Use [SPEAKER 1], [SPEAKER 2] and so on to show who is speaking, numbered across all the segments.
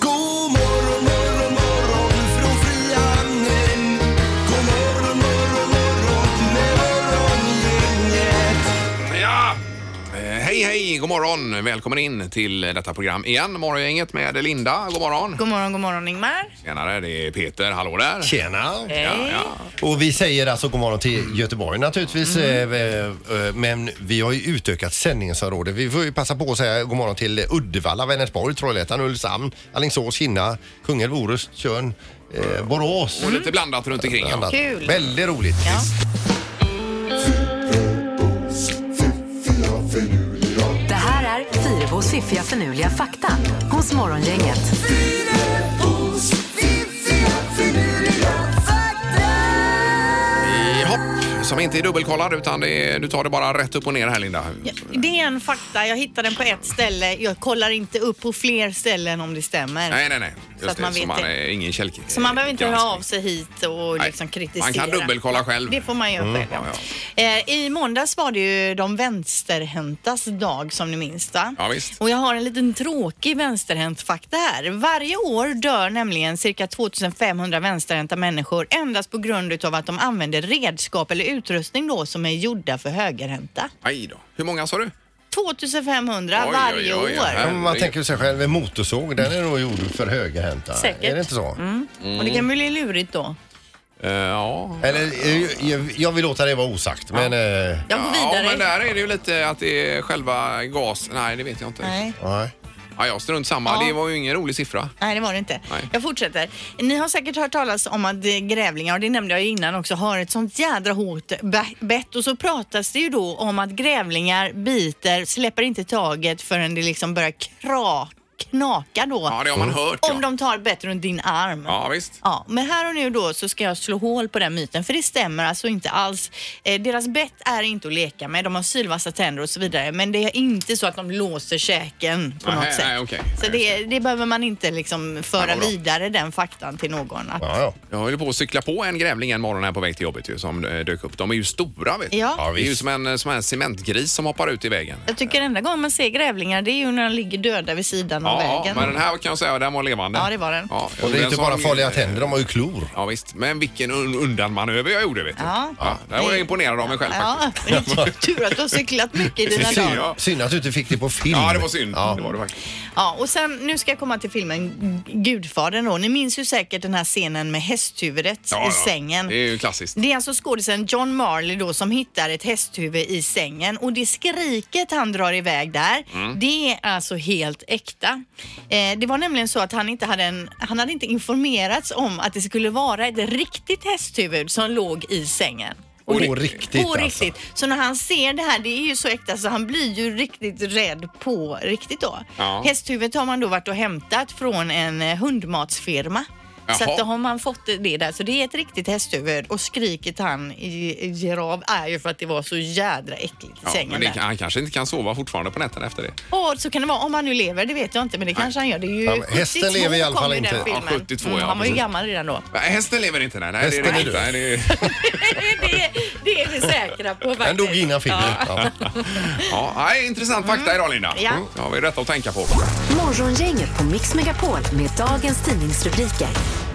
[SPEAKER 1] God morgon morgon morgon från Frihamnen. God morgon morgon morgon med morgongänget.
[SPEAKER 2] Ja! Eh, Hej, hej, god morgon. Välkommen in till detta program igen. Morgongänget med Linda. God morgon.
[SPEAKER 3] God morgon, god morgon Ingmar.
[SPEAKER 2] Tjenare, det är Peter. Hallå där.
[SPEAKER 4] Tjena!
[SPEAKER 2] Ja, ja.
[SPEAKER 4] Och vi säger alltså god morgon till Göteborg naturligtvis.
[SPEAKER 3] Mm.
[SPEAKER 4] eh, eh, Men vi har ju utökat sändningsområdet. Vi får ju passa på att säga god morgon till Uddevalla, Vänersborg, Trollhättan, Ulricehamn, Alingsås, Kinna, Kungälv, Orust, Tjörn, eh, Borås.
[SPEAKER 2] Och
[SPEAKER 3] Mm.
[SPEAKER 2] lite blandat runt omkring.
[SPEAKER 4] Bland
[SPEAKER 2] Ja.
[SPEAKER 4] annat.
[SPEAKER 3] Kul.
[SPEAKER 4] Väldigt roligt.
[SPEAKER 3] Ja.
[SPEAKER 5] Det här är Fyrabos fiffiga förnuliga fakta hos Morgongänget.
[SPEAKER 1] Fyrabos fiffiga finurliga fakta.
[SPEAKER 2] Hopp, som inte är dubbelkollad utan det är, du tar det bara rätt upp och ner här Linda.
[SPEAKER 3] Det är en fakta, jag hittade den på ett ställe. Jag kollar inte upp på fler ställen om det stämmer.
[SPEAKER 2] Nej, nej, nej. Just
[SPEAKER 3] Så att
[SPEAKER 2] det,
[SPEAKER 3] man
[SPEAKER 2] så
[SPEAKER 3] vet
[SPEAKER 2] man
[SPEAKER 3] det.
[SPEAKER 2] är ingen källkritik.
[SPEAKER 3] Så man behöver inte höra av sig hit och
[SPEAKER 2] Nej.
[SPEAKER 3] liksom kritisera.
[SPEAKER 2] Man kan dubbelkolla själv. Mm.
[SPEAKER 3] Det får man göra själv. ja.
[SPEAKER 2] ja,
[SPEAKER 3] Eh, I måndags var det ju de vänsterhäntas dag som ni minns va?
[SPEAKER 2] Ja, visst.
[SPEAKER 3] Och jag har en liten tråkig vänsterhänt fakta här. Varje år dör nämligen cirka 2500 vänsterhänta människor endast på grund utav att de använder redskap eller utrustning då som är gjorda för högerhänta.
[SPEAKER 2] Aj då. Hur många sa du?
[SPEAKER 3] 2500
[SPEAKER 2] Oj, oj,
[SPEAKER 3] varje
[SPEAKER 2] oj,
[SPEAKER 3] år.
[SPEAKER 2] här.
[SPEAKER 4] Ja, men Man tänker sig själv, en motorsåg den är nog gjord för högerhänta.
[SPEAKER 3] Säkert. Mm.
[SPEAKER 4] Är det inte så?
[SPEAKER 2] Mm.
[SPEAKER 3] Och det kan bli lurigt då.
[SPEAKER 2] Eh, ja.
[SPEAKER 4] Eller, eh, jag- jag vill låta det vara osagt men... eh,
[SPEAKER 3] Jag går
[SPEAKER 2] Ja,
[SPEAKER 3] vidare.
[SPEAKER 2] men där är det ju lite att det är själva gas... Nej, det vet jag inte.
[SPEAKER 3] Nej.
[SPEAKER 4] Nej.
[SPEAKER 2] Ja, jag strunt samma.
[SPEAKER 3] Ja.
[SPEAKER 2] Det var ju ingen rolig siffra.
[SPEAKER 3] Nej, det var det inte.
[SPEAKER 2] Nej.
[SPEAKER 3] Jag fortsätter. Ni har säkert hört talas om att eh, grävlingar, och det nämnde jag ju innan också, har ett sånt jädra hårt be- bett. Och så pratas det ju då om att grävlingar biter, släpper inte taget förrän det liksom börjar kra, knaka då.
[SPEAKER 2] Ja, det har man hört.
[SPEAKER 3] om
[SPEAKER 2] ja.
[SPEAKER 3] de tar ett bett runt din arm.
[SPEAKER 2] ja, visst.
[SPEAKER 3] Ja, men här och nu då så ska jag slå hål på den myten för det stämmer alltså inte alls. Eh, deras bett är inte att leka med, de har sylvassa tänder och så vidare men det är inte så att de låser käken på
[SPEAKER 2] Nej,
[SPEAKER 3] något sätt.
[SPEAKER 2] nej, okej.
[SPEAKER 3] Så
[SPEAKER 2] Nej,
[SPEAKER 3] det, det behöver man inte liksom föra
[SPEAKER 2] vad bra.
[SPEAKER 3] vidare den faktan till någon. Att,
[SPEAKER 4] Ja, ja.
[SPEAKER 2] Jag höll på att cykla på en grävling en morgon här på väg till jobbet ju, som eh, dök upp. De är ju stora vet du.
[SPEAKER 3] Ja.
[SPEAKER 4] Ja,
[SPEAKER 2] det är ju
[SPEAKER 4] visst.
[SPEAKER 2] som en, eh, som en cementgris som hoppar ut i vägen.
[SPEAKER 3] Jag tycker enda gången man ser grävlingar det är ju när de ligger döda vid sidan av
[SPEAKER 2] Ja,
[SPEAKER 3] vägen.
[SPEAKER 2] men den här kan jag säga, den var levande.
[SPEAKER 3] Ja, det var den.
[SPEAKER 2] Ja,
[SPEAKER 4] Och det är
[SPEAKER 2] den
[SPEAKER 4] inte
[SPEAKER 2] sa
[SPEAKER 4] bara
[SPEAKER 2] de-
[SPEAKER 4] farliga tänder, de har ju klor.
[SPEAKER 2] Ja, visst. Men vilken un- undanmanöver jag gjorde vet du.
[SPEAKER 3] Ja.
[SPEAKER 2] där var jag imponerad av mig själv faktiskt.
[SPEAKER 3] Ja, det är tur att du har cyklat mycket i dina
[SPEAKER 2] Precis,
[SPEAKER 3] dagar.
[SPEAKER 2] ja.
[SPEAKER 4] Synd att du inte fick det på film.
[SPEAKER 2] Ja, det var synd.
[SPEAKER 4] Ja.
[SPEAKER 2] Det var det faktiskt.
[SPEAKER 3] Ja, och sen nu ska jag komma till filmen Gudfadern då. Ni minns ju säkert den här scenen med hästhuvudet
[SPEAKER 2] Ja,
[SPEAKER 3] i
[SPEAKER 2] ja.
[SPEAKER 3] sängen.
[SPEAKER 2] Det är ju klassiskt.
[SPEAKER 3] Det är alltså skådisen John Marley då som hittar ett hästhuvud i sängen och det skriket han drar iväg där,
[SPEAKER 4] Mm.
[SPEAKER 3] det är alltså helt äkta. Eh, det var nämligen så att han inte hade, en, han hade inte informerats om att det skulle vara ett riktigt hästhuvud som låg i sängen.
[SPEAKER 4] På
[SPEAKER 2] det-
[SPEAKER 4] riktigt
[SPEAKER 3] På
[SPEAKER 4] alltså.
[SPEAKER 3] riktigt. Så när han ser det här, det är ju så äkta så han blir ju riktigt rädd på riktigt då.
[SPEAKER 2] Ja.
[SPEAKER 3] Hästhuvudet har man då varit och hämtat från en eh, hundmatsfirma. Så
[SPEAKER 2] Jaha.
[SPEAKER 3] att då har man fått det där. Så det är ett riktigt hästhuvud och skriket han i- ger av är ju för att det var så jädra äckligt i
[SPEAKER 2] Ja,
[SPEAKER 3] sängen
[SPEAKER 2] men det,
[SPEAKER 3] där.
[SPEAKER 2] kan- han kanske inte kan sova fortfarande på nätterna efter det.
[SPEAKER 3] Och så kan det vara om han nu lever, det vet jag inte men det kanske han gör. Det är ju
[SPEAKER 4] Ja, men hästen
[SPEAKER 3] 72
[SPEAKER 4] lever i alla fall
[SPEAKER 3] kom ju den
[SPEAKER 4] inte.
[SPEAKER 2] Ja,
[SPEAKER 3] filmen. Mm,
[SPEAKER 2] 72, ja,
[SPEAKER 3] han var ju
[SPEAKER 2] precis.
[SPEAKER 3] gammal redan då.
[SPEAKER 2] Nej, hästen lever inte. Nej, nej
[SPEAKER 4] Hästen
[SPEAKER 2] det
[SPEAKER 4] är
[SPEAKER 2] det.
[SPEAKER 4] död.
[SPEAKER 2] Nej, det är...
[SPEAKER 3] det, är, det är vi säkra på faktiskt.
[SPEAKER 4] Den dog innan filmen. Ja.
[SPEAKER 2] Ja, nej, intressant fakta idag Linda.
[SPEAKER 3] Mm. Ja.
[SPEAKER 2] Det har vi rätt att tänka på.
[SPEAKER 5] Morgongänget på Mix Megapol med dagens tidningsrubriker.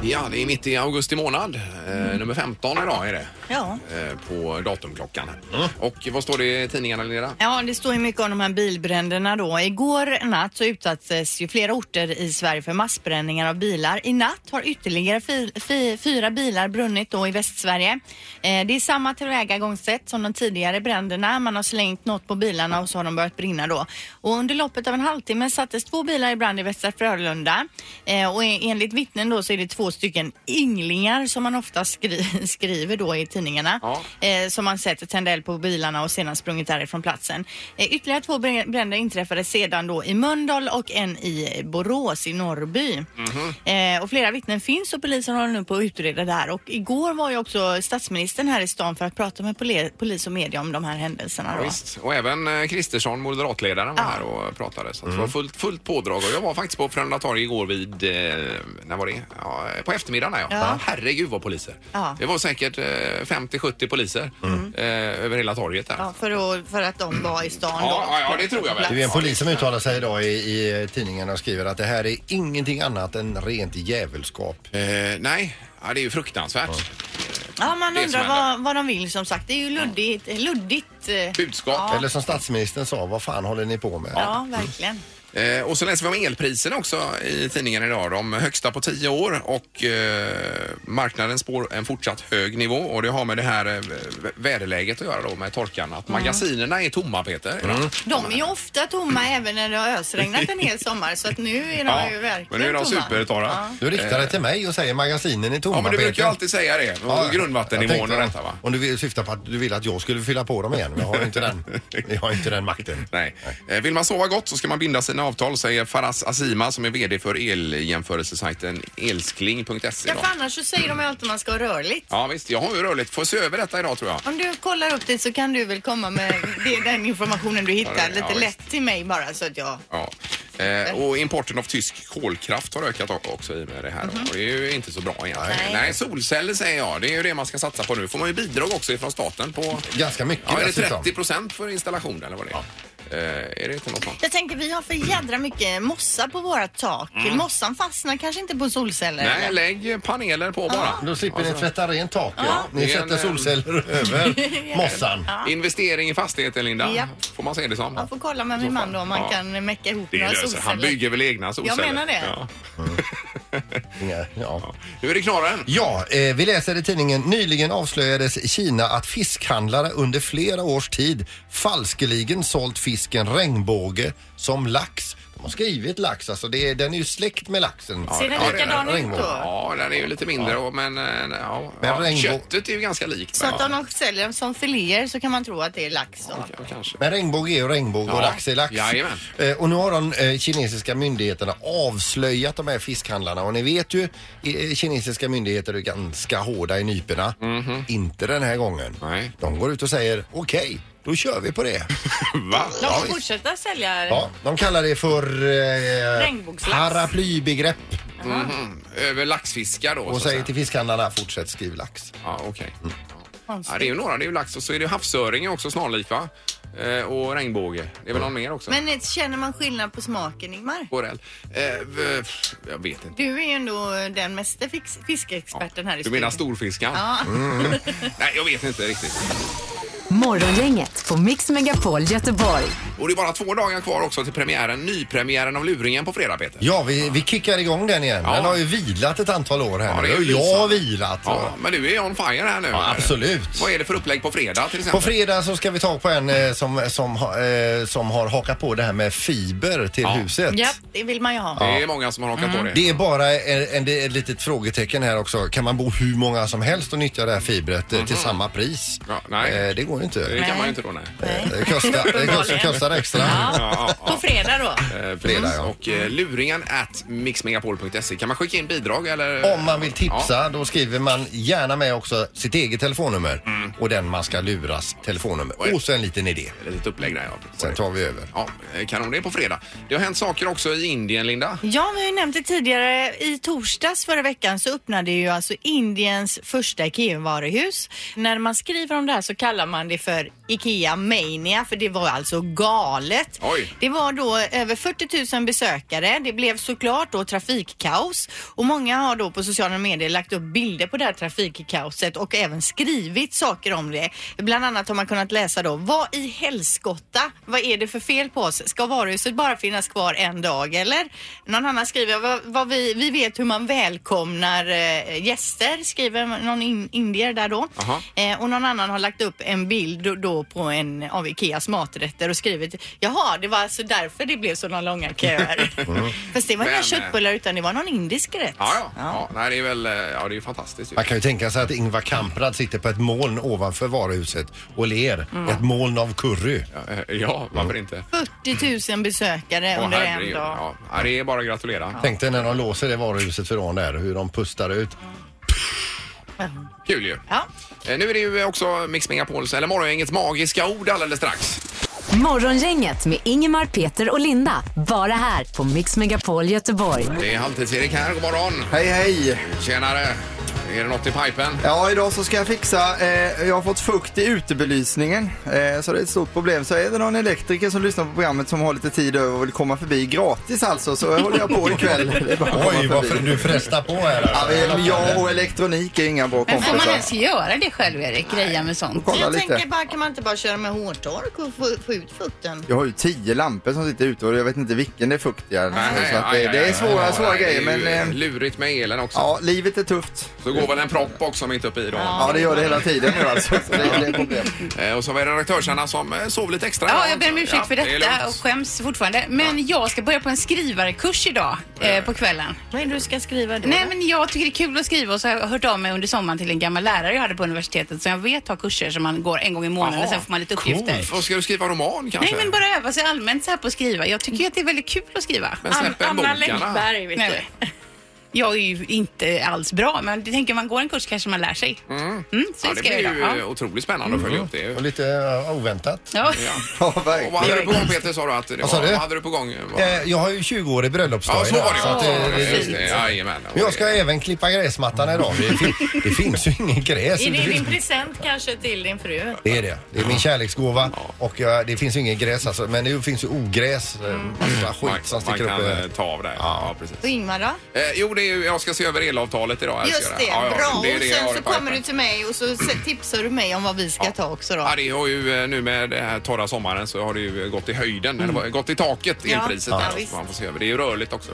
[SPEAKER 2] Ja, det är mitt i augusti månad. Eh, nummer 15 idag är det.
[SPEAKER 3] Mm. Ja. Mm.
[SPEAKER 2] Eh, på datumklockan. här. Och vad står det i tidningarna Linda?
[SPEAKER 3] Ja, det står ju mycket om de här bilbränderna då. Igår natt så utsattes ju flera orter i Sverige för massbränningar av bilar. I natt har ytterligare fi, fi, fyra bilar brunnit då i Västsverige. Eh, det är samma tillvägagångssätt som de tidigare bränderna. Man har slängt något på bilarna och så har de börjat brinna då. Och under loppet av en halvtimme sattes två bilar i brand i Västra Frölunda. e-, Eh, och en- enligt vittnen då så är det två stycken ynglingar som man ofta skri, skriver då i tidningarna
[SPEAKER 2] Ja.
[SPEAKER 3] eh, som man sett tända eld på bilarna och sedan sprungit därifrån platsen. Eh, ytterligare två brä- bränder inträffade sedan då i Mölndal och en i Borås i Norrby.
[SPEAKER 2] Mhm.
[SPEAKER 3] eh, och flera vittnen finns och polisen håller nu på att utreda det här. Och igår var ju också statsministern här i stan för att prata med poli- polis och media om de här händelserna. Då.
[SPEAKER 2] Visst. Och även eh, Kristersson, moderatledaren, var
[SPEAKER 3] Ja. Mm.
[SPEAKER 2] här och pratade. Så att det var fullt, fullt pådrag. Och jag var faktiskt på Frölunda torg igår vid... Eh, när var det? Ja, eh, på eftermiddagen. här, Ja.
[SPEAKER 3] Ja.
[SPEAKER 2] Herregud vad poliser.
[SPEAKER 3] Ja. Mm.
[SPEAKER 2] Det var säkert eh, 50-70 poliser eh, över hela torget där.
[SPEAKER 3] Ja, för, att, för att de var i stan då.
[SPEAKER 2] Ja, ja, ja, det tror jag väl.
[SPEAKER 4] Det är en polis som uttalar sig idag i, i tidningen och skriver att det här är ingenting annat än rent djävulskap.
[SPEAKER 2] Eh, nej, ja, det är ju fruktansvärt.
[SPEAKER 3] Ja, man
[SPEAKER 2] Det som
[SPEAKER 3] undrar
[SPEAKER 2] händer.
[SPEAKER 3] vad, vad de vill som sagt. Det är ju luddigt. luddigt eh,
[SPEAKER 2] Budskap.
[SPEAKER 4] Eller som statsministern sa, vad fan håller ni på med?
[SPEAKER 3] ja, verkligen.
[SPEAKER 2] Eh, och så läser vi om elpriserna också i tidningen idag. De högsta på tio år och eh, marknaden spår en fortsatt hög nivå och det har med det här eh, vä- väderläget att göra då med torkan. Att
[SPEAKER 3] Mm.
[SPEAKER 2] magasinerna är tomma Peter.
[SPEAKER 3] De är ju ofta tomma även när det har ösregnat en hel sommar så att nu är de
[SPEAKER 2] Ja,
[SPEAKER 3] ju verkligen
[SPEAKER 2] men nu är de
[SPEAKER 3] tomma.
[SPEAKER 2] supertorra.
[SPEAKER 3] Ja.
[SPEAKER 4] Du riktar det till mig och säger magasinen är tomma
[SPEAKER 2] Ja men du
[SPEAKER 4] Peter.
[SPEAKER 2] brukar ju alltid säga det. Och
[SPEAKER 4] Jag
[SPEAKER 2] Grundvattennivån
[SPEAKER 4] tänkte
[SPEAKER 2] och detta va?
[SPEAKER 4] Om du vill syfta på att du vill att jag skulle fylla på dem igen. Jag har inte den, jag har inte den makten.
[SPEAKER 2] Nej. Eh, Vill man sova gott så ska man binda sina avtal säger Faraz Asima som är VD för eljämförelsesajten elskling.se.
[SPEAKER 3] Ja,
[SPEAKER 2] E då.
[SPEAKER 3] för annars så säger de ju alltid att man ska ha rörligt.
[SPEAKER 2] Ja visst, jag har ju rörligt. Får se över detta idag tror jag.
[SPEAKER 3] Om du kollar upp det så kan du väl komma med det, den informationen du
[SPEAKER 2] Ja,
[SPEAKER 3] hittar
[SPEAKER 2] det-
[SPEAKER 3] lite
[SPEAKER 2] ja,
[SPEAKER 3] lätt till mig bara så att jag...
[SPEAKER 2] Ja. Eh, och importen av tysk kolkraft har ökat o- också i och med det här. Och det är ju inte så bra egentligen. Nej.
[SPEAKER 3] Mhm. Nej.
[SPEAKER 2] solceller säger jag. Det är ju det man ska satsa på nu. Får man ju bidrag också ifrån staten på...
[SPEAKER 4] Ganska mycket
[SPEAKER 2] Ja, är det
[SPEAKER 4] dessutom.
[SPEAKER 2] 30 procent för installation eller vad det är? Eh, är det inte något sånt?
[SPEAKER 3] Jag tänker vi har för jädra mycket mossa på våra tak. Mossan fastnar kanske inte på solceller.
[SPEAKER 2] Mm. Nej,
[SPEAKER 3] eller?
[SPEAKER 2] lägg paneler på bara.
[SPEAKER 4] Då slipper ni tvätta rent taket. Ni
[SPEAKER 2] Det är en,
[SPEAKER 4] sätter
[SPEAKER 2] eh,
[SPEAKER 4] solceller över mossan.
[SPEAKER 2] Investering i fastigheter, Linda.
[SPEAKER 3] Japp.
[SPEAKER 2] Får man se det som.
[SPEAKER 3] Jag får kolla med min man då om man
[SPEAKER 2] Ja.
[SPEAKER 3] kan mecka ihop
[SPEAKER 2] Det
[SPEAKER 3] några
[SPEAKER 2] löser
[SPEAKER 3] solceller.
[SPEAKER 2] Han bygger väl egna solceller?
[SPEAKER 3] menar det.
[SPEAKER 2] Ja.
[SPEAKER 4] Inga- Ja.
[SPEAKER 2] Nu är det knorren.
[SPEAKER 4] Ja, eh, vi läser i tidningen. Nyligen avslöjades Kina att fiskhandlare under flera års tid falskeligen sålt fisken regnbåge som lax. De har skrivit lax, alltså det är, den är ju släkt med laxen.
[SPEAKER 3] Ser den
[SPEAKER 2] Ja, det är
[SPEAKER 3] likadan ut
[SPEAKER 4] regnbåge.
[SPEAKER 3] då?
[SPEAKER 2] Ja, den är ju lite mindre, och- men, eh, ja,
[SPEAKER 4] Men
[SPEAKER 2] ja,
[SPEAKER 4] regnbå-
[SPEAKER 2] köttet är ju ganska likt.
[SPEAKER 3] Så att om de säljer dem som filéer så kan man tro att det är lax då.
[SPEAKER 2] Ja, kanske.
[SPEAKER 4] Men regnbåge är ju regnbåge och
[SPEAKER 2] Ja,
[SPEAKER 4] lax är lax.
[SPEAKER 2] jajamän.
[SPEAKER 4] Eh, och nu har de eh, kinesiska myndigheterna avslöjat de här fiskhandlarna och ni vet ju eh, kinesiska myndigheter är ganska hårda i nyporna. Inte den här gången.
[SPEAKER 2] Mhm. Nej.
[SPEAKER 4] De går ut och säger okej, då kör vi på det.
[SPEAKER 2] Va?
[SPEAKER 3] De
[SPEAKER 4] Ja,
[SPEAKER 3] får
[SPEAKER 4] visst.
[SPEAKER 3] fortsätta sälja.
[SPEAKER 4] Ja, de kallar det för eh,
[SPEAKER 3] Regnbågslax.
[SPEAKER 4] paraplybegrepp
[SPEAKER 2] Över laxfiskar då?
[SPEAKER 4] och
[SPEAKER 2] så att
[SPEAKER 4] säger
[SPEAKER 2] säga.
[SPEAKER 4] till Mm. fiskhandlarna fortsätt skriv lax.
[SPEAKER 2] Ja, okej.
[SPEAKER 3] Konstigt.
[SPEAKER 2] Ja, det är ju några. Det är ju lax och så är det ju havsöring också snarlik va? Eh, och regnbåge. Det är väl någon mer också?
[SPEAKER 3] Men eh, känner man skillnad på smaken Ingmar?
[SPEAKER 2] Borrell. Eh, v- pff, jag vet inte.
[SPEAKER 3] Du är ju ändå den mesta fix- fiskeexperten här i
[SPEAKER 2] Du menar
[SPEAKER 3] studion.
[SPEAKER 2] storfiskaren?
[SPEAKER 3] Ja.
[SPEAKER 2] Nej, jag vet inte riktigt.
[SPEAKER 5] Morgongänget på Mix Megapol Göteborg.
[SPEAKER 2] Och det är bara två dagar kvar också till premiären, nypremiären av Luringen på fredag Peter.
[SPEAKER 4] Ja, vi, vi kickar igång den igen.
[SPEAKER 2] Ja.
[SPEAKER 4] Den har ju vilat ett antal år här
[SPEAKER 2] Ja, det
[SPEAKER 4] nu
[SPEAKER 2] är
[SPEAKER 4] och
[SPEAKER 2] ju
[SPEAKER 4] jag har
[SPEAKER 2] lysande.
[SPEAKER 4] vilat.
[SPEAKER 2] Ja, men du är on fire här nu.
[SPEAKER 4] Ja, absolut.
[SPEAKER 2] Vad är det för upplägg på fredag till
[SPEAKER 4] På
[SPEAKER 2] exempel?
[SPEAKER 4] fredag så ska vi ta på en eh, som, som, ha- eh, som har hakat på det här med fiber till
[SPEAKER 2] Ja.
[SPEAKER 4] huset.
[SPEAKER 3] Ja, det vill man ju ha.
[SPEAKER 2] Det är många som har hakat på det.
[SPEAKER 4] Det är bara en, en, det är ett litet frågetecken här också. Kan man bo hur många som helst och nyttja det här fibret eh, till samma pris?
[SPEAKER 2] Mhm. Ja, nej.
[SPEAKER 4] Eh, det går ju inte.
[SPEAKER 2] Det
[SPEAKER 4] Eh,
[SPEAKER 2] kan man ju inte då nej.
[SPEAKER 4] Det kostar, det kostar, kostar extra.
[SPEAKER 2] Ja, ja,
[SPEAKER 3] På fredag då?
[SPEAKER 2] Eh,
[SPEAKER 4] Fredag, ja.
[SPEAKER 2] Och eh, luringen at mixmegapol.se. Kan man skicka in bidrag eller?
[SPEAKER 4] Om man vill tipsa då skriver man gärna med också sitt eget telefonnummer
[SPEAKER 2] Mm.
[SPEAKER 4] och den man ska luras telefonnummer. Och så en liten idé.
[SPEAKER 2] Ett litet upplägg där ja.
[SPEAKER 4] Sen tar vi över.
[SPEAKER 2] Ja, eh, kanon. Det är på fredag. Det har hänt saker också i Indien, Linda.
[SPEAKER 3] Ja, vi har ju nämnt det tidigare. I torsdags förra veckan så öppnade ju alltså Indiens första IKEA-varuhus. När man skriver om det här så kallar man det för IKEA Mania för det var alltså galet.
[SPEAKER 2] Oj.
[SPEAKER 3] Det var då över 40 000 besökare. Det blev såklart då trafikkaos och många har då på sociala medier lagt upp bilder på det här trafikkaoset och även skrivit saker tycker om det. Bland annat har man kunnat läsa då, vad i helskotta, vad är det för fel på oss? Ska varuhuset bara finnas kvar en dag eller? Någon annan skriver, vad, vad vi, vi vet hur man välkomnar eh, gäster, skriver någon in, indier där då.
[SPEAKER 2] Jaha.
[SPEAKER 3] Eh, och någon annan har lagt upp en bild då, då på en av Ikeas maträtter och skrivit, jaha, det var alltså därför det blev sådana långa köer. Fast det var inga
[SPEAKER 2] Men, eh,
[SPEAKER 3] köttbullar utan det var någon indisk rätt.
[SPEAKER 2] Ja, ja. ja. Nej, det är väl eh, ja, det är ju fantastiskt. Ju.
[SPEAKER 4] Man kan ju tänka sig att Ingvar Kamprad sitter på ett moln ovanför varuhuset och ler.
[SPEAKER 2] Mm.
[SPEAKER 4] Ett moln av curry.
[SPEAKER 2] Ja, eh, Ja, varför
[SPEAKER 4] Mm.
[SPEAKER 2] inte?
[SPEAKER 3] 40 000 besökare
[SPEAKER 2] Åh,
[SPEAKER 3] under en
[SPEAKER 2] herregud.
[SPEAKER 3] dag.
[SPEAKER 2] ja. Ja, det är bara att gratulera.
[SPEAKER 4] Tänk dig när de låser det varuhuset för dagen där, hur de pustar ut.
[SPEAKER 2] Kul ju.
[SPEAKER 3] Ja.
[SPEAKER 2] Eh, Nu är det ju också Mix Megapols, eller Morgongängets magiska ord alldeles strax.
[SPEAKER 5] Morgongänget med Ingemar, Peter och Linda. Bara här på Mix Megapol Göteborg.
[SPEAKER 2] Det är Halvtids-Erik här, god morgon.
[SPEAKER 6] Hej, hej!
[SPEAKER 2] Tjenare! Är det något i pipen?
[SPEAKER 6] Ja, idag så ska jag fixa. Eh, jag har fått fukt i utebelysningen, eh, så det är ett stort problem. Så är det någon elektriker som lyssnar på programmet som har lite tid över och vill komma förbi gratis alltså, så håller jag på ikväll. Det är bara att komma
[SPEAKER 4] Oj,
[SPEAKER 6] förbi.
[SPEAKER 4] varför du frestar på här.
[SPEAKER 6] Ja, men jag och elektronik är inga bra
[SPEAKER 7] Men får man
[SPEAKER 6] kompisar.
[SPEAKER 7] ens göra det själv Erik? Greja med sånt?
[SPEAKER 6] Kolla
[SPEAKER 3] jag
[SPEAKER 6] lite.
[SPEAKER 3] tänker bara, kan man inte bara köra med hårtork och få, få ut fukten?
[SPEAKER 6] Jag har ju tio lampor som sitter ute och jag vet inte vilken det är fuktigare.
[SPEAKER 2] Nej,
[SPEAKER 6] så att
[SPEAKER 2] aj,
[SPEAKER 6] det,
[SPEAKER 2] aj,
[SPEAKER 6] det är
[SPEAKER 2] aj,
[SPEAKER 6] svåra,
[SPEAKER 2] aj,
[SPEAKER 6] svåra
[SPEAKER 2] aj,
[SPEAKER 6] grejer,
[SPEAKER 2] det är ju
[SPEAKER 6] men eh,
[SPEAKER 2] Lurigt med elen också.
[SPEAKER 6] ja, livet är tufft.
[SPEAKER 2] Så går väl en propp också mitt uppe i då.
[SPEAKER 6] Ja, det gör det hela tiden nu alltså. Så det är det är problem.
[SPEAKER 2] Eh, Och så var det redaktörsarna som eh, sov lite extra.
[SPEAKER 7] Ja,
[SPEAKER 2] idag.
[SPEAKER 7] jag ber om ursäkt
[SPEAKER 2] Ja,
[SPEAKER 7] för
[SPEAKER 2] det är
[SPEAKER 7] detta
[SPEAKER 2] lugnt.
[SPEAKER 7] och skäms fortfarande. Men jag ska börja på en skrivarkurs idag eh, på kvällen.
[SPEAKER 3] Vad är det du ska skriva då?
[SPEAKER 7] Nej, men jag tycker det är kul att skriva och så har jag hört av mig under sommaren till en gammal lärare jag hade på universitetet som jag vet har kurser som man går en gång i månaden
[SPEAKER 2] Jaha,
[SPEAKER 7] och sen får man lite uppgifter.
[SPEAKER 2] Och ska du skriva roman kanske?
[SPEAKER 7] Nej, men bara öva sig allmänt så här på att skriva. Jag tycker ju att det är väldigt kul att skriva.
[SPEAKER 2] Men släpp en bok, Anna.
[SPEAKER 3] vet
[SPEAKER 7] Nej. Jag är ju inte alls bra, men jag tänker man går en kurs kanske man lär sig. Mm. så
[SPEAKER 2] Ja,
[SPEAKER 7] det
[SPEAKER 2] det
[SPEAKER 7] ska jag
[SPEAKER 2] blir
[SPEAKER 7] göra.
[SPEAKER 2] ju
[SPEAKER 7] Ja.
[SPEAKER 2] eh, otroligt spännande att följa upp det.
[SPEAKER 4] Och lite eh, oväntat.
[SPEAKER 7] Ja.
[SPEAKER 6] Mm. Ja,
[SPEAKER 2] Och vad hade
[SPEAKER 6] verkligen.
[SPEAKER 2] du på gång Peter sa du att det var?
[SPEAKER 4] Vad sa du?
[SPEAKER 2] Vad hade du på gång? Vad-
[SPEAKER 4] Eh, Jag har ju 20-årig bröllopsdag
[SPEAKER 2] Ja, så var det
[SPEAKER 4] så att det,
[SPEAKER 2] ja.
[SPEAKER 4] det,
[SPEAKER 2] Just det, Jajamän.
[SPEAKER 4] Men jag ska även klippa gräsmattan idag. Det, fin, det finns ju ingen gräs.
[SPEAKER 3] Är det din
[SPEAKER 4] finns,
[SPEAKER 3] present kanske till din fru?
[SPEAKER 4] det är det. Det är min kärleksgåva. Och jag, det finns ju ingen gräs alltså. Men det finns ju ogräs. eh, Massa
[SPEAKER 2] Mm. Man,
[SPEAKER 4] skit som
[SPEAKER 2] man
[SPEAKER 4] sticker
[SPEAKER 2] kan
[SPEAKER 4] upp.
[SPEAKER 2] eh,
[SPEAKER 4] eh.
[SPEAKER 2] ta av det. Ja, precis.
[SPEAKER 3] Och Ingmar då?
[SPEAKER 2] Eh, jo, det är, ju- jag ska se över elavtalet idag. Jag ska
[SPEAKER 3] Just
[SPEAKER 2] göra
[SPEAKER 3] det,
[SPEAKER 2] Ja, ja,
[SPEAKER 3] bra.
[SPEAKER 2] det är
[SPEAKER 3] och
[SPEAKER 2] det jag
[SPEAKER 3] sen
[SPEAKER 2] har i
[SPEAKER 3] så
[SPEAKER 2] pipen.
[SPEAKER 3] kommer du till mig och så se- tipsar du mig om vad vi ska ta också då.
[SPEAKER 2] Ja, det har ju eh, nu med den här torra sommaren så har det ju eh, gått i höjden, eller vad- gått i taket,
[SPEAKER 3] Mm. Ja,
[SPEAKER 2] elpriset.
[SPEAKER 3] ja,
[SPEAKER 2] där,
[SPEAKER 3] visst.
[SPEAKER 2] så man får se över. Det är ju rörligt också.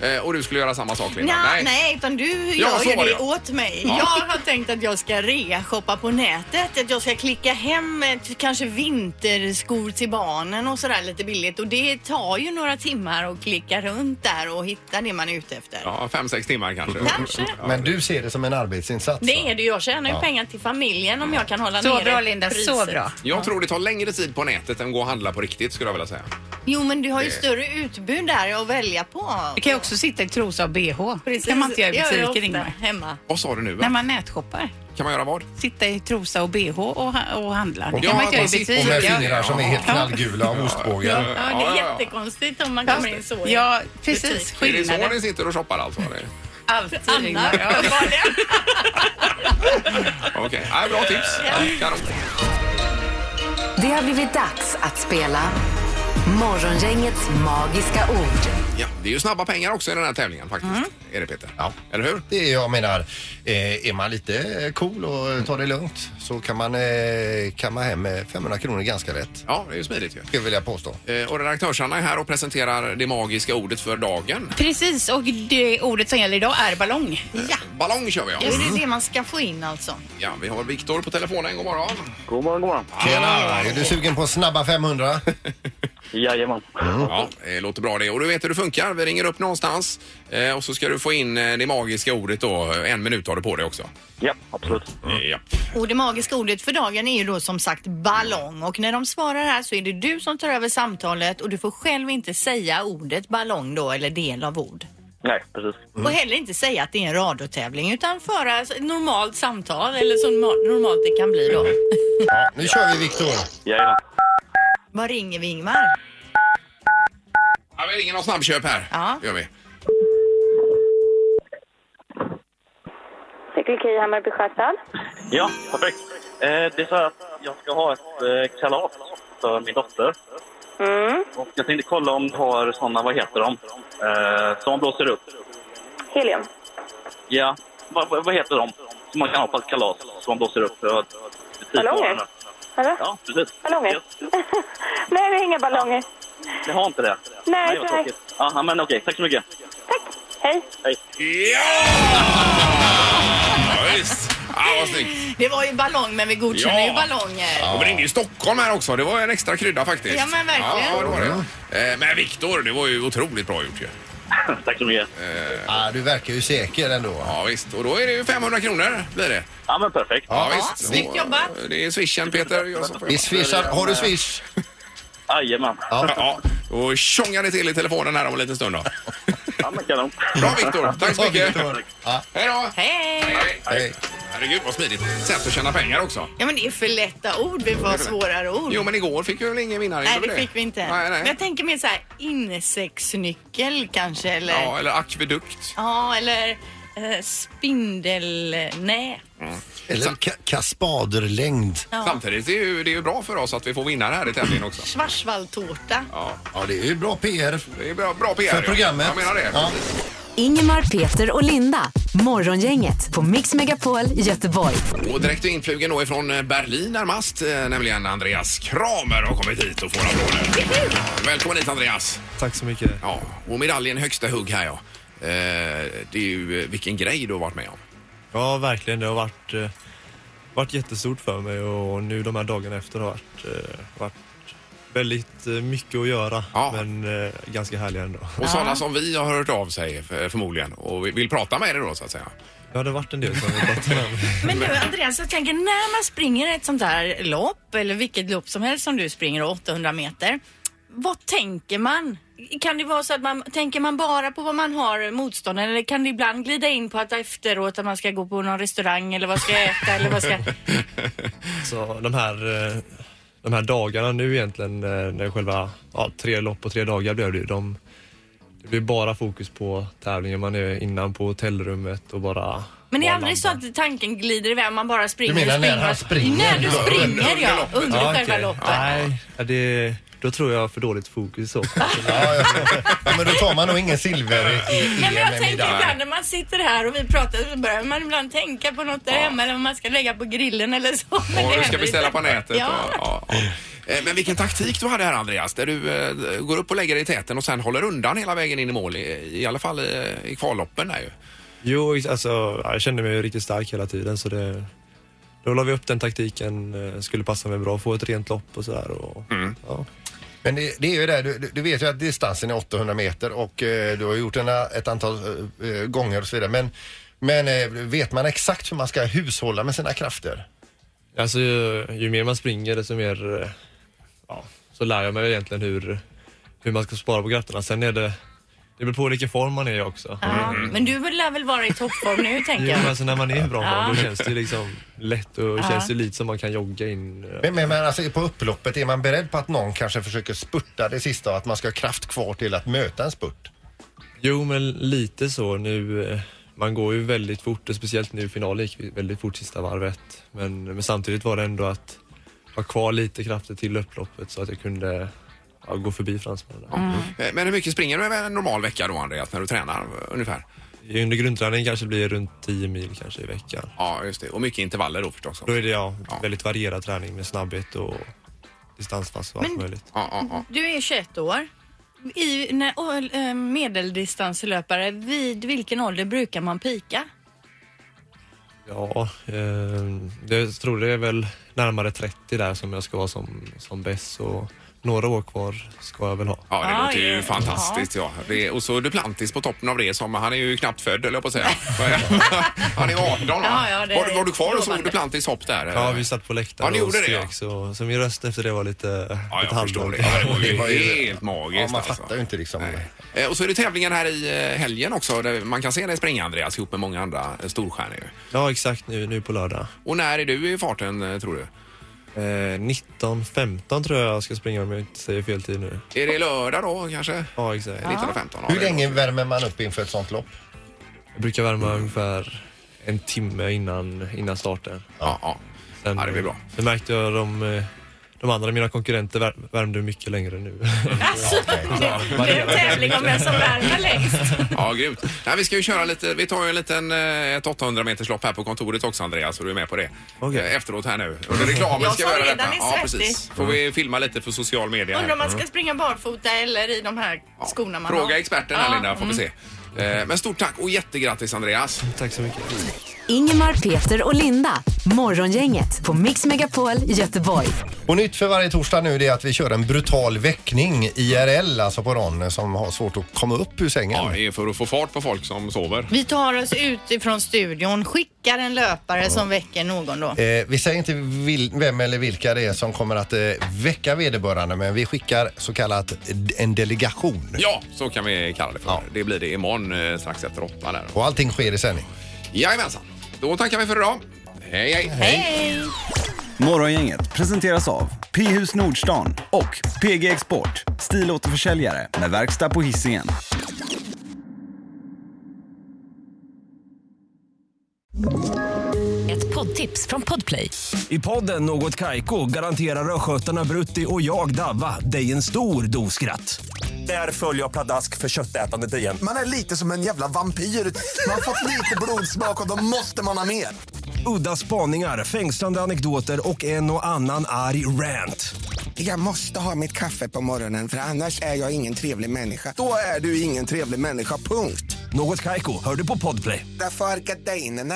[SPEAKER 3] Ja.
[SPEAKER 2] Eh, Och du skulle göra samma sak, Linda?
[SPEAKER 3] Nja, nej. utan du
[SPEAKER 2] Ja,
[SPEAKER 3] gör
[SPEAKER 2] så
[SPEAKER 3] ju
[SPEAKER 2] var
[SPEAKER 3] det
[SPEAKER 2] det, ja.
[SPEAKER 3] åt mig.
[SPEAKER 2] Ja.
[SPEAKER 3] Jag har tänkt att jag ska rea-shoppa på nätet. Att jag ska klicka hem ett, kanske vinterskor till barnen och sådär lite billigt. Och det tar ju några timmar att klicka runt där och hitta det man är ute efter.
[SPEAKER 2] Ja, fem, sex timmar kanske.
[SPEAKER 3] Kanske.
[SPEAKER 4] Men du ser det som en arbetsinsats.
[SPEAKER 3] Det är det ju. Jag tjänar ju pengar till familjen om jag kan hålla
[SPEAKER 7] Så
[SPEAKER 3] nere
[SPEAKER 7] bra Linda, så
[SPEAKER 3] priset.
[SPEAKER 7] bra.
[SPEAKER 2] Jag tror det tar längre tid på nätet än att gå och handla på riktigt skulle jag vilja säga.
[SPEAKER 3] Jo, men du har ju större utbud där att välja på.
[SPEAKER 7] Du kan ju också sitta i trosa och bh. Det kan man inte göra i
[SPEAKER 3] Jag gör
[SPEAKER 7] butiken
[SPEAKER 3] det ofta
[SPEAKER 7] Ingmar.
[SPEAKER 3] Hemma.
[SPEAKER 2] Vad sa du nu?
[SPEAKER 7] När
[SPEAKER 2] Va?
[SPEAKER 7] man nätshoppar.
[SPEAKER 2] Kan man göra vad?
[SPEAKER 7] Sitta i trosa och bh och, ha- och handla. Det
[SPEAKER 2] Ja,
[SPEAKER 7] kan man inte göra i
[SPEAKER 2] precis.
[SPEAKER 4] Och med
[SPEAKER 7] butik.
[SPEAKER 4] fingrar
[SPEAKER 7] Ja.
[SPEAKER 4] som är helt knallgula av ostbågen.
[SPEAKER 3] Ja, det
[SPEAKER 2] Ja,
[SPEAKER 3] är
[SPEAKER 2] ja, ja.
[SPEAKER 3] jättekonstigt om man kommer in så. i-
[SPEAKER 7] Ja, precis.
[SPEAKER 3] Butik.
[SPEAKER 2] Är det så ni
[SPEAKER 7] Skillnaden.
[SPEAKER 2] sitter och shoppar alltså? eller?
[SPEAKER 7] Alltid
[SPEAKER 3] Anna,
[SPEAKER 7] Ingmar. Ja.
[SPEAKER 3] uppenbarligen.
[SPEAKER 2] Okej, Nej, bra tips. Kanon.
[SPEAKER 5] Det har blivit dags att spela Morgongängets magiska ord.
[SPEAKER 2] Ja, det är ju snabba pengar också i den här tävlingen faktiskt.
[SPEAKER 3] Mm.
[SPEAKER 2] Är det Peter?
[SPEAKER 4] Ja.
[SPEAKER 2] Eller hur?
[SPEAKER 4] Det är, jag menar, eh, är man lite eh, cool och tar det lugnt så kan man eh, kamma hem eh, 500 kronor ganska lätt.
[SPEAKER 2] Ja, det är ju smidigt ju.
[SPEAKER 4] Skulle jag vilja påstå.
[SPEAKER 2] Eh, Och redaktörsarna är här och presenterar det magiska ordet för dagen.
[SPEAKER 7] Precis, och det ordet som gäller idag är ballong.
[SPEAKER 3] Ja.
[SPEAKER 2] Ballong kör vi
[SPEAKER 3] Det
[SPEAKER 2] om.
[SPEAKER 3] är det det man ska få in alltså.
[SPEAKER 2] Ja, vi har Viktor på telefonen. God morgon.
[SPEAKER 4] Tjena!
[SPEAKER 2] Ah.
[SPEAKER 4] Är du sugen på snabba 500?
[SPEAKER 8] Jajamän.
[SPEAKER 2] Ja, det låter bra det. Och du vet hur det funkar. Vi ringer upp någonstans eh, och så ska du få in eh, det magiska ordet då. En minut har du på dig också. Eh,
[SPEAKER 8] Ja, absolut.
[SPEAKER 2] Ja.
[SPEAKER 3] Och det magiska ordet för dagen är ju då som sagt ballong. Och när de svarar här så är det du som tar över samtalet och du får själv inte säga ordet ballong då eller del av ord.
[SPEAKER 8] Nej, precis.
[SPEAKER 2] Mm.
[SPEAKER 3] Och heller inte säga att det är en radiotävling utan föra ett normalt samtal eller så norma- normalt det kan bli då.
[SPEAKER 4] Ja, nu kör vi Viktor.
[SPEAKER 8] Jajamän.
[SPEAKER 3] Vad ringer vi Ingmar?
[SPEAKER 2] Ja, vi ringer någon snabbköp här.
[SPEAKER 3] Ja.
[SPEAKER 2] Det gör vi.
[SPEAKER 9] Cykelkey Hammarby Sjöstad.
[SPEAKER 8] Ja, perfekt. Eh, det är så här att jag ska ha ett eh, kalas för min dotter.
[SPEAKER 9] Mm.
[SPEAKER 8] Och jag tänkte kolla om du har såna, vad heter de, eh, som man blåser upp.
[SPEAKER 9] Helium.
[SPEAKER 8] Ja, vad, vad vad heter de som man kan ha på ett kalas som man blåser upp? Jag Precis
[SPEAKER 9] Ballonger?
[SPEAKER 8] bara.
[SPEAKER 9] Eller?
[SPEAKER 8] Ja, precis.
[SPEAKER 9] Ballonger? Nej, vi har inga ballonger.
[SPEAKER 8] Ni har inte det?
[SPEAKER 9] Nej,
[SPEAKER 8] vad
[SPEAKER 9] nej.
[SPEAKER 8] tråkigt. Ja, men okej. Tack så mycket.
[SPEAKER 9] Hej.
[SPEAKER 8] Hej.
[SPEAKER 2] Ja, visst. Ja, vad snyggt.
[SPEAKER 3] Det var ju ballong, men vi godkänner
[SPEAKER 2] Ja.
[SPEAKER 3] ju ballonger.
[SPEAKER 2] Ja. De ringde ju Stockholm här också. Det var en extra krydda faktiskt.
[SPEAKER 3] Ja, men verkligen.
[SPEAKER 2] Ja, det var det. Eh, Men Viktor, det var ju otroligt bra gjort ju.
[SPEAKER 8] Tack så mycket.
[SPEAKER 4] Ja, du verkar ju säker ändå.
[SPEAKER 2] Ja, visst. Och då är det ju 500 kronor blir det.
[SPEAKER 8] Ja, men perfekt.
[SPEAKER 2] Ja,
[SPEAKER 4] Ja,
[SPEAKER 2] visst.
[SPEAKER 4] snyggt
[SPEAKER 2] Och,
[SPEAKER 4] jobbat.
[SPEAKER 2] eh, Det är swishen Peter. Jag som får
[SPEAKER 4] Vi
[SPEAKER 2] jobba.
[SPEAKER 4] swishar. Har du swish?
[SPEAKER 8] Jajamän.
[SPEAKER 2] Ja. Och tjongar det till i telefonen här om en liten stund då.
[SPEAKER 8] Ja, men kanon.
[SPEAKER 2] Bra Viktor, tack så
[SPEAKER 8] Bra,
[SPEAKER 2] mycket.
[SPEAKER 8] Viktor.
[SPEAKER 2] Hej då!
[SPEAKER 3] Hej!
[SPEAKER 2] Hej. Herregud vad smidigt sätt att tjäna pengar också.
[SPEAKER 3] Ja, men det är för lätta ord. Vi får ha svårare ord.
[SPEAKER 2] Jo men igår fick vi väl ingen vinnare?
[SPEAKER 3] Nej,
[SPEAKER 2] gjorde
[SPEAKER 3] det fick vi inte.
[SPEAKER 2] Nej,
[SPEAKER 3] Men
[SPEAKER 2] nej.
[SPEAKER 3] jag tänker mer så här insektsnyckel kanske, eller
[SPEAKER 2] Ja, eller akvedukt.
[SPEAKER 3] Ja, eller eh, spindelnät.
[SPEAKER 4] Eller ka- kaspaderlängd.
[SPEAKER 3] Ja.
[SPEAKER 2] Samtidigt är det ju, det är ju bra för oss att vi får vinnare här i tävlingen också.
[SPEAKER 3] Schwarzwaldtårta.
[SPEAKER 2] Ja.
[SPEAKER 4] Ja, det är ju bra PR.
[SPEAKER 2] Det är bra, bra PR.
[SPEAKER 4] För
[SPEAKER 2] ja.
[SPEAKER 4] programmet.
[SPEAKER 2] Jag menar det.
[SPEAKER 4] Ja.
[SPEAKER 5] Ingemar, Peter och Linda. Morgongänget på Mix Megapol Göteborg.
[SPEAKER 2] Och direkt influgen då ifrån eh, Berlin närmast, eh, nämligen Andreas Kramer har kommit hit och får applåder. Välkommen hit Andreas!
[SPEAKER 10] Tack så mycket.
[SPEAKER 2] Ja, och medaljen högsta hugg här ja. Eh, Det är ju eh, vilken grej du har varit med om.
[SPEAKER 10] Ja, verkligen. Det har varit, eh, varit jättestort för mig och nu de här dagarna efter har varit, eh, varit väldigt eh, mycket att göra men eh, ganska härliga ändå.
[SPEAKER 2] Och sådana som vi har hört av sig för- förmodligen och vi- vill prata med dig då så att säga.
[SPEAKER 10] Ja, det har varit en del som har pratat med mig.
[SPEAKER 3] Men du Andreas, jag tänker när man springer ett sånt här lopp eller vilket lopp som helst som du springer 800 meter. Vad tänker man? Kan det vara så att man tänker man bara på vad man har motståndaren eller kan det ibland glida in på att efteråt att man ska gå på någon restaurang eller vad ska jag äta eller vad ska...
[SPEAKER 10] Så de här, eh, de här dagarna nu egentligen, eh, när själva ja, tre lopp på tre dagar blev det ju, de, det blir bara fokus på tävlingen. Man är innan på hotellrummet och bara...
[SPEAKER 3] Men det är aldrig så att tanken glider iväg, man bara springer
[SPEAKER 10] Du menar
[SPEAKER 3] och springer.
[SPEAKER 10] när han springer?
[SPEAKER 3] När du
[SPEAKER 10] Ja,
[SPEAKER 3] springer
[SPEAKER 10] under
[SPEAKER 3] ja, under
[SPEAKER 10] Ja,
[SPEAKER 3] själva
[SPEAKER 10] okej.
[SPEAKER 3] loppet.
[SPEAKER 10] Nej, ja, det, då tror jag för dåligt fokus så.
[SPEAKER 4] Ja, men då tar man nog ingen silver i, i
[SPEAKER 3] Nej, men jag tänker
[SPEAKER 4] EM-medalj.
[SPEAKER 3] ibland när man sitter här och vi pratar så börjar man ibland tänka på något där hemma eller vad man ska lägga på grillen eller så. Men
[SPEAKER 2] Och
[SPEAKER 3] det
[SPEAKER 2] du
[SPEAKER 3] händer
[SPEAKER 2] ska beställa
[SPEAKER 3] inte.
[SPEAKER 2] på nätet.
[SPEAKER 3] Ja.
[SPEAKER 2] Och, ja, ja. Eh, Men vilken taktik du hade här Andreas, där du eh, går upp och lägger dig i täten och sen håller undan hela vägen in i mål, i, i alla fall i, i kvalloppen där ju.
[SPEAKER 10] Jo, alltså, ja, jag kände mig ju riktigt stark hela tiden så det, då la vi upp den taktiken, eh, skulle passa mig bra, få ett rent lopp och sådär. Och, ja.
[SPEAKER 4] Men det, det är ju det, du, du- du vet ju att distansen är 800 meter och eh, du har gjort den här ett antal eh, eh, gånger och så vidare. Men, men eh, vet man exakt hur man ska hushålla med sina krafter?
[SPEAKER 10] Alltså ju, ju mer man springer desto mer eh, ja, så lär jag mig egentligen hur, hur man ska spara på krafterna. Sen är det, det beror på vilken form man är i också.
[SPEAKER 3] Ja, men du lär väl vara i toppform nu tänker
[SPEAKER 10] Mm, Jo,
[SPEAKER 3] jag.
[SPEAKER 10] men alltså när man är i bra form då
[SPEAKER 3] Ja.
[SPEAKER 10] känns det ju liksom lätt och
[SPEAKER 3] Ja.
[SPEAKER 10] känns det lite som man kan jogga in. eh,
[SPEAKER 4] Men, men, men alltså på upploppet, är man beredd på att någon kanske försöker spurta det sista och att man ska ha kraft kvar till att möta en spurt?
[SPEAKER 10] Jo, men lite så. Nu, eh, man går ju väldigt fort och speciellt nu i finalen gick vi väldigt fort sista varvet. Men, men samtidigt var det ändå att ha kvar lite krafter till upploppet så att jag kunde ja, gå förbi fransmännen.
[SPEAKER 2] Eh, Men hur mycket springer du med en normal vecka då Andreas, när du tränar eh, ungefär?
[SPEAKER 10] Under grundträningen kanske det blir runt 10 mil kanske i veckan.
[SPEAKER 2] Ja, just det. Och mycket intervaller då förstås.
[SPEAKER 10] Då är det ja, väldigt varierad träning med snabbhet och distanspass och allt
[SPEAKER 3] Men-
[SPEAKER 10] möjligt.
[SPEAKER 3] Du är 21 år. I, när, och, eh, medeldistanslöpare, vid vilken ålder brukar man pika?
[SPEAKER 10] Ja, eh, jag tror det är väl närmare 30 där som jag ska vara som, som bäst. Så några år kvar ska jag väl ha.
[SPEAKER 2] Ja, det
[SPEAKER 10] Ah,
[SPEAKER 2] låter ju
[SPEAKER 10] ja.
[SPEAKER 2] fantastiskt. Ja. Det, och så Duplantis på toppen av det. Som, han är ju knappt född, eller jag på att säga. han är 18, va?
[SPEAKER 10] Ja, ja, det
[SPEAKER 2] var, du- var du kvar och
[SPEAKER 10] är
[SPEAKER 2] såg Duplantis hopp där?
[SPEAKER 10] Ja, vi satt på
[SPEAKER 2] Ja,
[SPEAKER 10] läktaren
[SPEAKER 2] ni
[SPEAKER 10] och
[SPEAKER 2] gjorde det, ja.
[SPEAKER 10] skrek så, så min röst efter det var lite, ja, lite halvdålig.
[SPEAKER 2] Det var ju helt magiskt.
[SPEAKER 4] Ja, man
[SPEAKER 2] alltså.
[SPEAKER 4] fattar ju inte liksom.
[SPEAKER 2] Eh, Och så är det tävlingar här i eh, helgen också. Där man kan se dig springa, Andreas, ihop med många andra eh, storstjärnor. ju.
[SPEAKER 10] Ja, exakt nu, nu på lördag.
[SPEAKER 2] Och när är du i farten, eh, tror du?
[SPEAKER 10] Eh, 19.15 tror jag jag ska springa om jag inte säger fel tid nu.
[SPEAKER 2] Är det lördag då, kanske?
[SPEAKER 10] Ja, exakt.
[SPEAKER 2] 19.15.
[SPEAKER 4] Hur länge värmer man upp inför ett sånt lopp?
[SPEAKER 10] Jag brukar värma ungefär en timme innan, innan starten.
[SPEAKER 2] Ja, ja.
[SPEAKER 10] Sen,
[SPEAKER 2] det blir bra.
[SPEAKER 10] Sen märkte jag de, eh, de andra mina konkurrenter vär- värmde mycket längre nu.
[SPEAKER 7] Alltså, det blir en tävling om vem som värmer längst.
[SPEAKER 2] Ja, grymt. Nej, vi ska ju köra lite, vi tar ju en liten, eh, ett 800 meterslopp här på kontoret också Andreas, så du är med på det. Eh, Efteråt här nu. Under reklamen
[SPEAKER 7] Jag
[SPEAKER 2] ska
[SPEAKER 7] som
[SPEAKER 2] vi göra
[SPEAKER 7] redan
[SPEAKER 2] detta.
[SPEAKER 7] är
[SPEAKER 2] Ja,
[SPEAKER 7] svettig.
[SPEAKER 2] precis. Får vi filma lite för social media. här.
[SPEAKER 7] Undrar om man ska
[SPEAKER 2] Mm.
[SPEAKER 7] springa barfota eller i de här skorna man
[SPEAKER 2] Fråga experten här
[SPEAKER 7] Ja, Mm.
[SPEAKER 2] Linda, får vi se. Eh, Men stort tack och jättegrattis Andreas.
[SPEAKER 10] Tack så mycket.
[SPEAKER 5] Ingemar, Peter och Linda. Morgongänget på Mix Megapol Göteborg.
[SPEAKER 4] Och nytt för varje torsdag nu det är att vi kör en brutal väckning IRL, alltså på någon som har svårt att komma upp ur sängen.
[SPEAKER 2] Ja, det är för att få fart på folk som sover.
[SPEAKER 3] Vi tar oss ut ifrån studion, skickar en löpare som väcker någon då.
[SPEAKER 4] Eh, vi säger inte vil- vem eller vilka det är som kommer att eh, väcka vederbörande men vi skickar så kallat d- en delegation.
[SPEAKER 2] Ja, så kan vi kalla det för. Det blir det imorgon eh, strax efter åtta där.
[SPEAKER 4] Och allting sker i sändning.
[SPEAKER 2] Jajamensan. Då tackar vi för idag. Hej, hej.
[SPEAKER 3] Hej!
[SPEAKER 11] Morgongänget presenteras av P-hus Nordstan och PG Export, stilåterförsäljare med verkstad på Hisingen.
[SPEAKER 12] Ett poddtips från Podplay.
[SPEAKER 13] I podden Något Kaiko garanterar östgötarna Brutti och jag, Davva, dig en stor dos skratt. Där följer jag pladask för köttätandet igen.
[SPEAKER 1] Man är lite som en jävla vampyr. Man har fått lite blodsmak och då måste man ha mer.
[SPEAKER 13] Udda spaningar, fängslande anekdoter och en och annan arg rant.
[SPEAKER 14] Jag måste ha mitt kaffe på morgonen för annars är jag ingen trevlig människa. Då är du ingen trevlig människa, punkt.
[SPEAKER 13] Något Kaiko, hör du på Podplay.
[SPEAKER 14] Därför arkadeinerna.